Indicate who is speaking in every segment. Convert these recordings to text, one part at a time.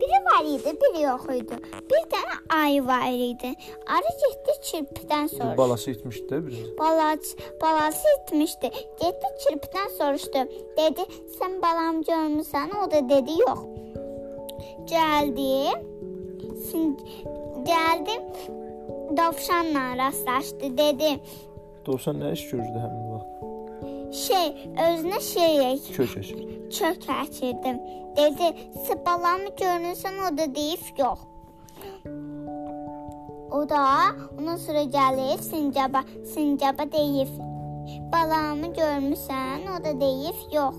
Speaker 1: var idi, bir yox idi. Bir dənə ayı var idi. Arı getdi çirpdən
Speaker 2: Bu
Speaker 1: soruşdu.
Speaker 2: balası itmişdi də birinci.
Speaker 1: Balac, balası itmişdi. Getdi çirpdən soruşdu. Dedi, sən balam görmüsən? O da dedi, yox. Gəldim. sin- Gəldim. Dovşanla rastlaşdı. Dedi,
Speaker 2: Dovşan nə iş görürdü həmin vaxt?
Speaker 1: şey, özünə şey yeyək.
Speaker 2: Kök eşir.
Speaker 1: çök açırdım. Dedi, "Sıpalamı görünsən o da deyib yox." O da ondan sonra gəlib sincaba, sincaba deyib, "Balamı görmüsən?" O da deyib, "Yox."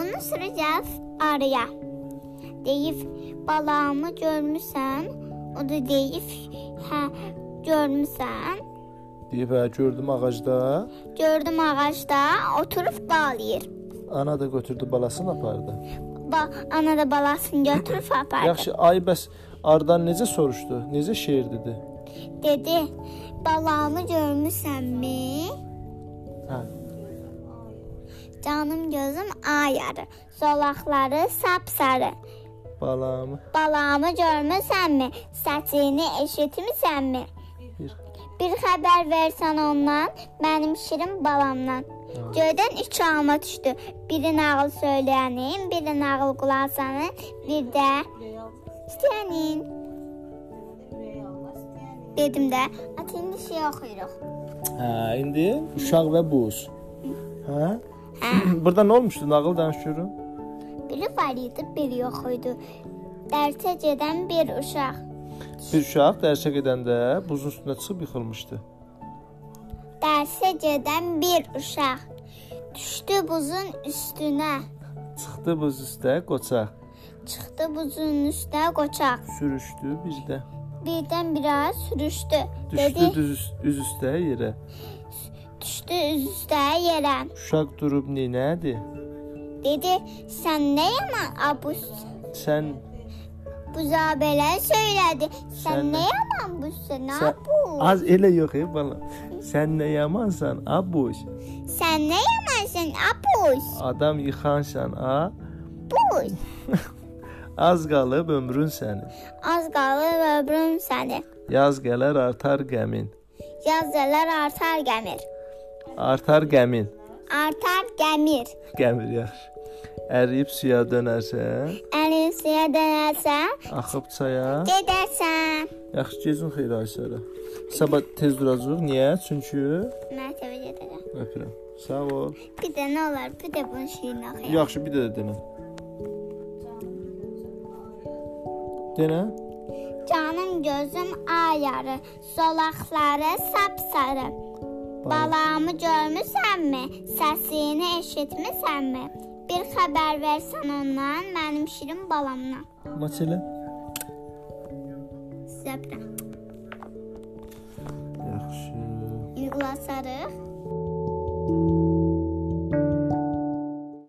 Speaker 1: Ondan sonra gəlib arıya. Deyib, "Balamı görmüsən?" O da deyib, "Hə, görmüsən."
Speaker 2: Deyib, hə, gördüm ağacda.
Speaker 1: Gördüm ağacda oturub qalayır.
Speaker 2: Ana da götürdü balasını apardı.
Speaker 1: Ba ana da balasını götürüb apardı.
Speaker 2: Yaxşı, ay bəs Ardan necə soruşdu? Necə şeir dedi?
Speaker 1: Dedi, balamı görmüsənmi?
Speaker 2: Hə.
Speaker 1: Canım gözüm ayarı, zolaqları sapsarı.
Speaker 2: Balamı
Speaker 1: Balamı görmüsənmi? Səsini eşitmisənmi?
Speaker 2: bir
Speaker 1: Bir xəbər versən ondan, mənim şirin balamdan. Göydən üç alma düşdü. Biri nağıl söyləyənin, biri nağıl qulağsanın, bir də istəyənin. Dedim də, at indi şey oxuyuruq.
Speaker 2: Hə, indi uşaq və buz. Hə?
Speaker 1: Hə.
Speaker 2: Burada nə olmuşdu? Nağıl danış görüm.
Speaker 1: Biri var idi, biri yox idi. Dərsə gedən bir uşaq.
Speaker 2: Bir uşaq dərsə gedəndə buzun üstünə çıxıb yıxılmışdı.
Speaker 1: Dərsə gedən bir uşaq. Düşdü buzun üstünə.
Speaker 2: Çıxdı buz üstə qoçaq.
Speaker 1: Çıxdı buzun üstünə qoçaq.
Speaker 2: Sürüşdü bir də.
Speaker 1: Birdən biraz sürüşdü.
Speaker 2: Düşdü düz üst- üz üstə yerə.
Speaker 1: düşdü üz üstə yerə.
Speaker 2: Uşaq durub ninədi?
Speaker 1: Dedi, sən nə yaman abus
Speaker 2: Sən
Speaker 1: buza belə söylədi. Sən,
Speaker 2: Sən-
Speaker 1: sən nə yaman busun, nə
Speaker 2: sən
Speaker 1: bu?
Speaker 2: az elə yox ey bala. Sən nə yamansan, a boş.
Speaker 1: Sən nə yamansan, abus,
Speaker 2: Adam yıxansan, a
Speaker 1: bus.
Speaker 2: az qalıb ömrün sənin.
Speaker 1: Az qalır ömrüm səni.
Speaker 2: Yaz gələr artar qəmin.
Speaker 1: Yazılar artar gəmir.
Speaker 2: Artar qəmin.
Speaker 1: Artar gəmir.
Speaker 2: Qəmir yaş. Əriyib suya dönərsən,
Speaker 1: Əlin suya dönərsən,
Speaker 2: axıb çaya.
Speaker 1: gedərsən.
Speaker 2: Yaxşı gecən xeyir Aysara. Sabah tez duracağıq. Niyə? Çünki
Speaker 1: Mərtəbə gedərəm.
Speaker 2: öpürəm. Sağ ol.
Speaker 1: Bir də nə olar? Bir də bunun şeyini oxuyaq.
Speaker 2: Yaxşı bir də də denə. Denə.
Speaker 1: Canım gözüm ayarı, solaqları sapsarı. Balamı görmüsənmi? Səsini eşitmisənmi? Bir xəbər versən ondan, mənim şirin balamdan.
Speaker 2: Maç elə.
Speaker 1: Zəbrə.
Speaker 2: Yaxşı.
Speaker 1: İnqlasarıq.